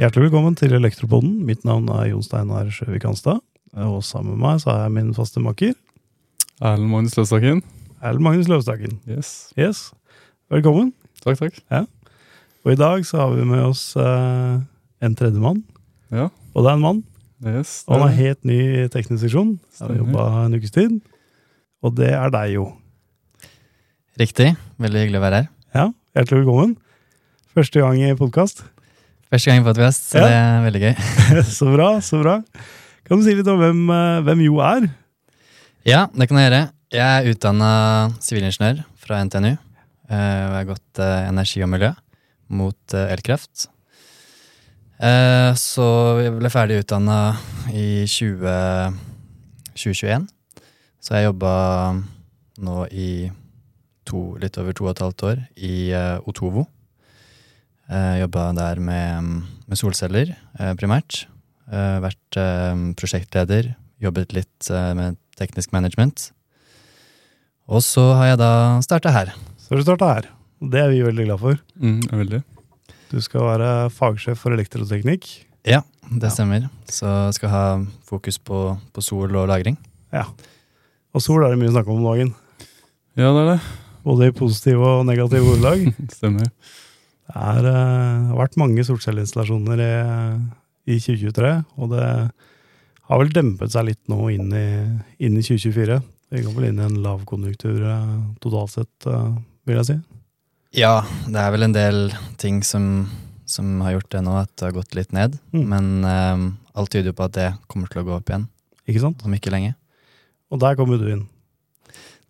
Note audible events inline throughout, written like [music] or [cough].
Hjertelig velkommen til Elektropoden. Mitt navn er Jon Steinar Sjøvik Hanstad. Og sammen med meg så har jeg min faste makker, Erlend Magnus Løvstakken. Erlend Magnus Løvstakken. Yes. Yes, velkommen. Takk, takk. Og i dag så har vi med oss eh, en tredjemann. Ja. Og det er en mann. Yes. Og han er helt ny i teknisk seksjon. Har Stemmer. jobba en ukes tid. Og det er deg, jo. Riktig. Veldig hyggelig å være her. Ja, hjertelig velkommen. Første gang i podkast. Første gang i podkast, så Ja. det er veldig gøy. [laughs] så bra, så bra. Kan du si litt om hvem, eh, hvem Jo er? Ja, det kan jeg gjøre. Jeg er utdanna sivilingeniør fra NTNU. eh, Og jeg har gått eh, energi og miljø mot eh, elkraft. Eh, Så jeg ble ferdig utdanna i 20, 2021. Så jeg jobba nå i to, litt over to og et halvt år i eh, Otovo. Eh, Jobba der med, med solceller, eh, primært. Eh, Vært eh, prosjektleder, jobbet litt eh, med teknisk management. Og så har jeg da starta her. Så har du starta her. Og det er vi veldig glad for. Mm, ja, veldig. Du skal være fagsjef for elektroteknikk. Det Ja. stemmer. Så skal ha fokus på, på sol og lagring. Og sol er det mye snakk om om dagen. Ja, det er det. Både i positive og negative ordelag. Stemmer. Det er, eh, har vært mange solcelleinstallasjoner i, i 2023, og det har vel dempet seg litt nå inn i, inn i 2024. Vi går vel inn i en lavkonjunktur eh, totalt sett, eh, vil jeg si. Ja, det er vel en del ting som, som har gjort det nå, at det har gått litt ned. Mm. Men eh, alt tyder jo på at det kommer til å gå opp igjen Ikke sant? om ikke lenge. Og der kommer du inn.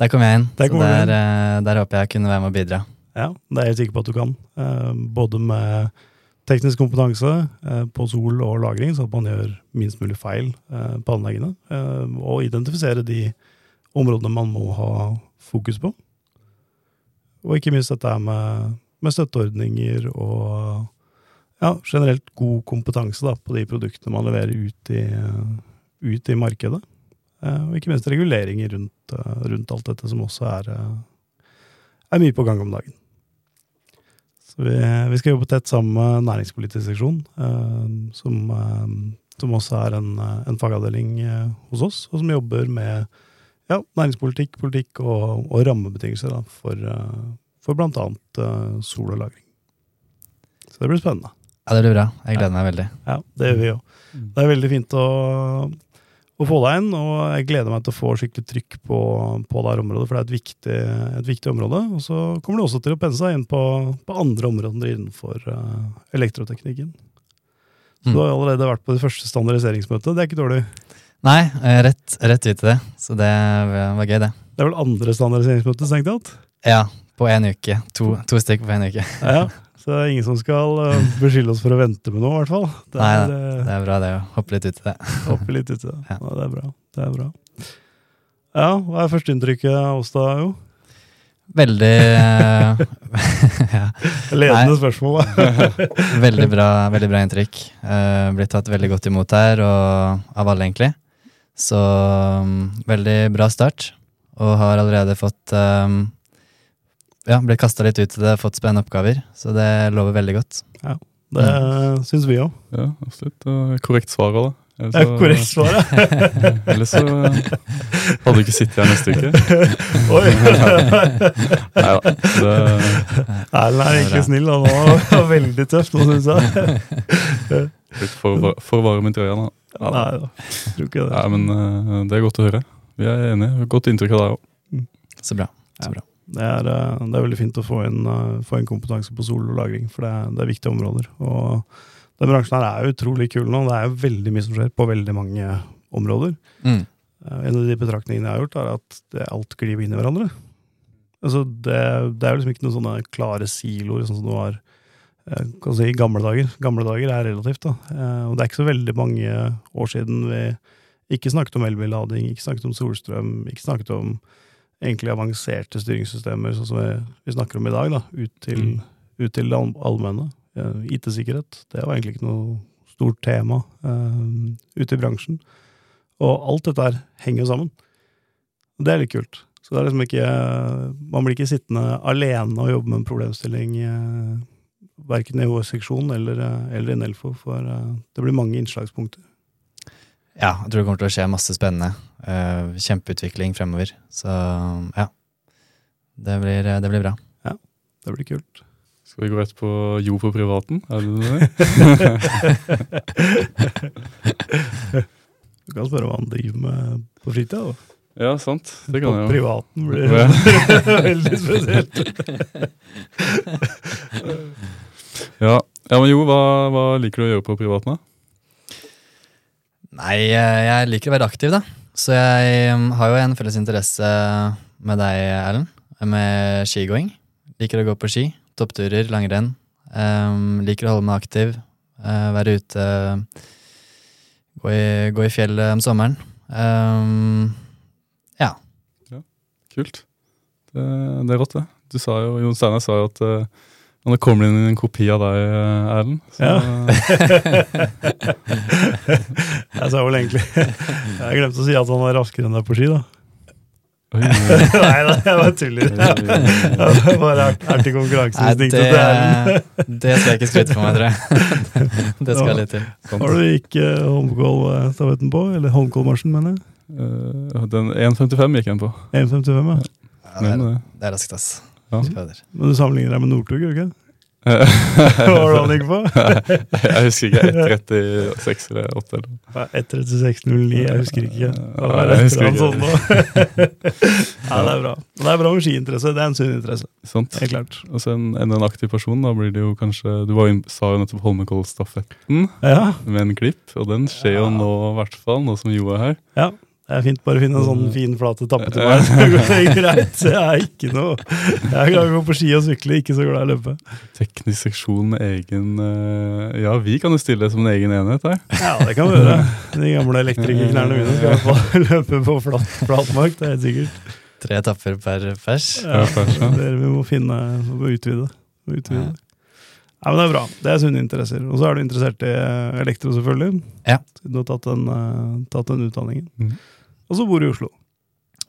Der kom jeg inn, Der så kommer du der, inn. eh, der håper jeg kunne være med og bidra. Ja, det er jeg sikker på at du kan. Eh, Både med teknisk kompetanse eh, på sol og lagring, så at man gjør minst mulig feil eh, på anleggene. eh, Og identifisere de områdene man må ha fokus på. Og ikke minst dette her med, med støtteordninger og ja, generelt god kompetanse da, på de produktene man leverer ut i, eh, ut i markedet. Eh, Og ikke minst reguleringer rundt, eh, rundt alt dette, som også er, eh, er mye på gang om dagen. Så vi, vi skal jobbe tett sammen med næringspolitisk seksjon, eh, som, eh, som også er en, eh, en fagavdeling eh, hos oss, og som jobber med ja, næringspolitikk, politikk og, og rammebetingelser da, for, eh, for bl.a. Eh, sol og lagring. Så det blir spennende. Ja, Det blir bra. Jeg gleder meg veldig. Ja, det gjør vi òg. Mm. Det er veldig fint å, å få deg inn, og jeg gleder meg til å få skikkelig trykk på, på det her området, for det er et viktig, et viktig område. Og så kommer du også til å pense deg inn på, på andre områder innenfor eh, elektroteknikken. Så Mm. du har allerede vært på det første standardiseringsmøtet. Det er ikke dårlig. Nei, eh, rett, rett ut til det. Så det var gøy, det. Det er vel andre standardiseringsmøte, tenkte jeg. at. Ja, på én uke. To, to stykk på én uke. Ja, så det er ingen som skal eh, beskylde oss for å vente med noe, i hvert fall. Det Nei, er, eh, Det er bra det å hoppe litt ut i det. Hoppe litt uti det. Ja. Ja. det er bra. Det er bra. Ja, hva er førsteinntrykket av oss da, Jo? Veldig eh, [laughs] ja, Ledende spørsmål. veldig, bra, veldig bra inntrykk. Uh, blitt tatt veldig godt imot her, og av alle, egentlig. Så mm, veldig bra start, og har allerede fått um, Ja, blitt kasta litt ut i det, fått spennende oppgaver, så det lover veldig godt. Det syns vi òg. Ja, absolutt. Og korrekt svar òg, da. Ellers Det er så- korrekt svar, ja. [laughs] Ellers så hadde du ikke sittet her [laughs] neste uke. Oi! Nei da. Det Erlend er egentlig snill. Han var- var veldig tøff nå, syns jeg. er litt for, var- for varm i trøya, da. Ja, da. Nei da, tror ikke det. Nei, men eh, det er godt å høre. Vi er enige. Godt inntrykk av deg òg. Så bra. Det er, eh, det er veldig fint å få inn, eh, få inn kompetanse på sol og lagring, for det er, det er viktige områder. Og den bransjen her er utrolig kul nå. Det er jo veldig mye som skjer på veldig mange områder. Mm. Eh, En av de betraktningene jeg har gjort, er at det, alt glir inn i hverandre. Altså, det, det er jo liksom ikke noen sånne klare siloer, sånn som det var eh, kan si, i gamle dager. Gamle dager er relativt, da. Eh, Og det er ikke så veldig mange år siden vi ikke snakket om elbillading, ikke snakket om solstrøm, ikke snakket om egentlig avanserte styringssystemer, sånn som vi, vi snakker om i dag, da, ut til, Mm. ut til det all- allmenne. Eh, IT-sikkerhet, det var egentlig ikke noe stort tema eh, ute i bransjen. Og alt dette her henger jo sammen. Og det er litt kult. Så det er liksom ikke Man blir ikke sittende alene og jobbe med en problemstilling eh, verken i vår seksjon eller, eh, eller i Nelfo, for eh, det blir mange innslagspunkter. Ja, jeg tror det kommer til å skje masse spennende. Eh, kjempeutvikling fremover. Så mm, ja. Det blir, det blir bra. Det blir [laughs] kult. Skal vi gå rett på Jo på privaten? Er det [laughs] det? Du kan spørre hva han driver med på fritida. da. Ja, sant. Det På kan jeg jo. privaten blir Ja. [laughs] veldig [laughs] spesielt. Ja. ja, men Jo, hva, hva liker du å gjøre på privaten? da? Nei, eh, jeg liker å være aktiv, da. Så jeg mm, har jo en felles interesse med deg, Erlend. Med skigåing. Liker å gå på ski. Toppturer, langrenn. Em, liker å holde meg aktiv. eh, være ute. Gå i, gå i fjellet om sommeren. Um, Em, Kult. Det, det er rått, det. Du sa jo, Jon Steinar sa jo at eh, han har kommet inn en kopi av deg, eh, Erlend. Så, Jeg sa vel egentlig Jeg glemte å si at han er raskere enn deg på ski, da. [laughs] Oi, Nei da, jeg bare tuller. oi, oi. Ja, det er bare ert- ertig Nei, det, konkurranseinstinktet til Erlend. det skal jeg ikke skryte på meg, tror jeg. [laughs] Det skal litt til. Sant. Har du ikke Holmkål-stavetten på? Eller Holmkål-marsjen, mener jeg. Eh, den 1,55 gikk han på. 1,55, ja. Ja, det, Men, er, eh, det er raskt, ass. Ja. Fy fader. Men du sammenligner deg med Northug, gjør du ikke? [laughs] Hva var [laughs] det han [laughs] jeg gikk på? husker ikke. 1,36 eller 8 eller noe. Nei, 1.36,09, jeg husker ikke. Det var Nei, jeg rett foran husker sånn ikke. nå. [laughs] Nei, det er bra. Men Det er bra med skiinteresse. Det er en sunn interesse, Sant? helt klart. Og så en, en, en aktiv person, da blir det jo kanskje Du var jo, inn- sa jo nettopp Holmenkollstafetten Ja, med en klipp, og den skjer jo Ja. nå, i hvert fall, nå som Jo er her. det er fint. Bare finn en sånn fin, flat etappe til meg, så går [laughs] det greit. Jeg er ikke noe Jeg er glad i å gå på ski og sykle, ikke så glad i å løpe. Teknisk seksjon med egen eh, Ja, vi kan jo stille som en egen enhet her. Ja, det kan vi gjøre. De gamle elektrikerknærne mine skal i hvert fall [laughs] løpe på flat, flatmark, det er helt sikkert. Tre etapper per pers. Ja, Ja, kanskje. dere vi må finne vi må utvide. vi Må utvide. Ja. Nei, men Det er bra. Det er sunne interesser. Og så er du interessert i eh, elektro, selvfølgelig. Ja. Siden du har tatt den, eh, tatt den utdanningen. Mhm. Og så bor du i Oslo.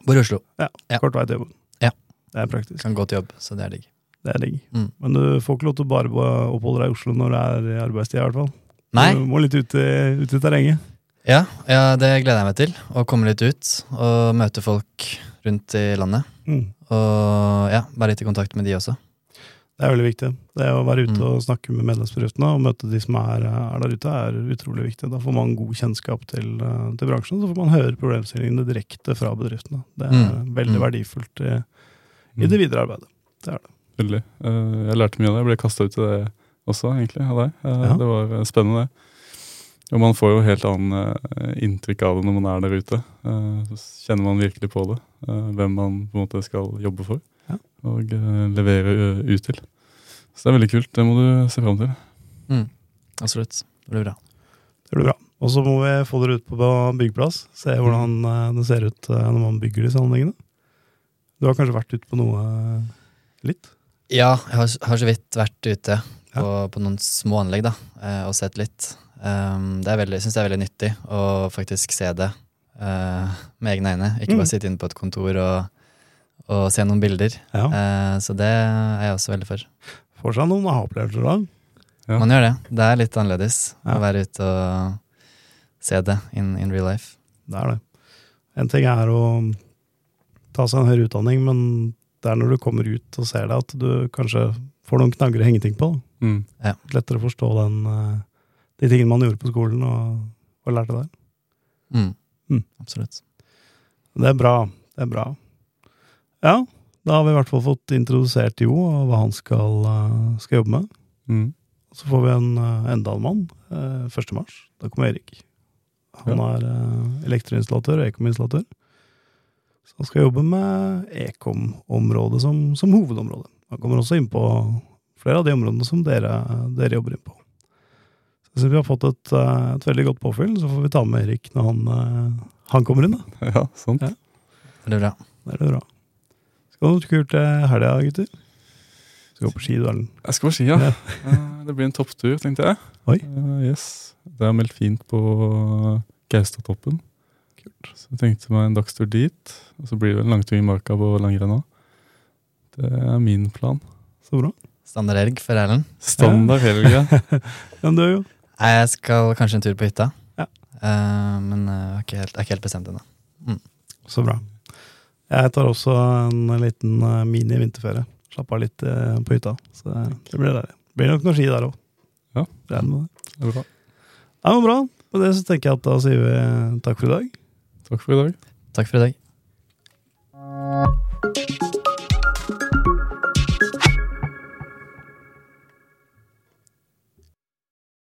Bor i Oslo. Ja. Kort vei til jobben. Ja. Det er praktisk. Kan gå til jobb, så det er digg. Det er digg. Mm. Men du får ikke lov til å bare bo- oppholde deg i Oslo når det er i arbeidstida, i hvert fall. Nei? Du må litt ut i, ut i terrenget. Ja, ja, det gleder jeg meg til. Å komme litt ut og møte folk rundt i landet. Mm. Og ja, være litt i kontakt med de også. Det er veldig viktig. Det å være ute Mm. og snakke med medlemsbedriftene og møte de som er, er der ute, er utrolig viktig. Da får man god kjennskap til, eh, til bransjen, så får man høre problemstillingene direkte fra bedriftene. Det er Mm. veldig Mm. verdifullt i, i det videre arbeidet. Veldig. Eh, jeg lærte mye av det. Jeg ble kasta ut i det også, egentlig, av deg. Eh, Ja. Det var eh, spennende, det. Og man får jo helt annet eh, inntrykk av det når man er der ute. Eh, så kjenner man virkelig på det. eh, hvem man på en måte skal jobbe for Ja. og eh, levere ø, ut til. Så det er veldig kult. Det må du se fram til. Mm. Absolutt. Det blir bra. Det blir bra. Og så må vi få dere ut på byggeplass, se Mm. hvordan eh, det ser ut eh, når man bygger disse anleggene. Du har kanskje vært ute på noe eh, litt? Ja, jeg har, har så vidt vært ute på, Ja. på noen små anlegg da, eh, og sett litt. Um, det er veldig, synes det er veldig nyttig å faktisk se det eh, med egne øyne. Ikke Mm. bare sitte inne på et kontor og, og se noen bilder. Ja. Eh, så det er jeg også veldig for. Får seg noen aha-opplevelser da. Ja. Man gjør det. Det er litt annerledes Ja. å være ute og se det in, in real life. Det er det. En ting er å ta seg en høyere utdanning, men det er når du kommer ut og ser det, at du kanskje får noen knagger å henge ting på. da. Mm. Lettere å forstå den, eh, de tingene man gjorde på skolen og, og lærte der. Mm. Mm. Absolutt. Det er bra. Det er bra. Ja, da har vi i hvert fall fått introdusert Jo og hva han skal, eh, skal jobbe med. Mm. [laughs] Så får vi en eh, enda en mann eh, 1. mars. Da kommer Erik. Han er eh, elektroinstallatør og ekominstallatør. Så han skal jobbe med ekom-området som, som hovedområde. Han kommer også inn på flere av de områdene som dere, dere jobber inn på. Så jeg synes vi har fått et, eh, et veldig godt påfyll, så får vi ta med Erik når han, eh, han kommer inn. da. Ja, sant. Ja. Veldig bra. Det er det bra. Skal du ha noe kult til helga, gutter? Skal gå på ski, du, Erlend. Jeg skal på ski, ja. Ja. Eh, det blir en topptur, tenkte jeg. Oi. Eh, yes. Det er meldt fint på Gaustatoppen. Kult. Så jeg tenkte meg en dagstur dit. Og så blir det en langtur i marka på langrenn òg. Det er min plan. Så bra. Standard helg for Erlend. Standard helg, ja. Men du, jo. Nei, Jeg skal kanskje en tur på hytta, Ja. Eh, men eh, jeg har ikke helt, jeg er ikke helt bestemt ennå. Så bra. Jeg tar også en liten eh, mini vinterferie. Slapp av litt eh, på hytta. Så det blir deilig. Blir nok noe ski der òg. Ja. Regner med det. [laughs] Det er bra. Ja, men bra. Med det så tenker jeg at da sier vi eh, takk for i dag. Takk for i dag. Takk for i dag.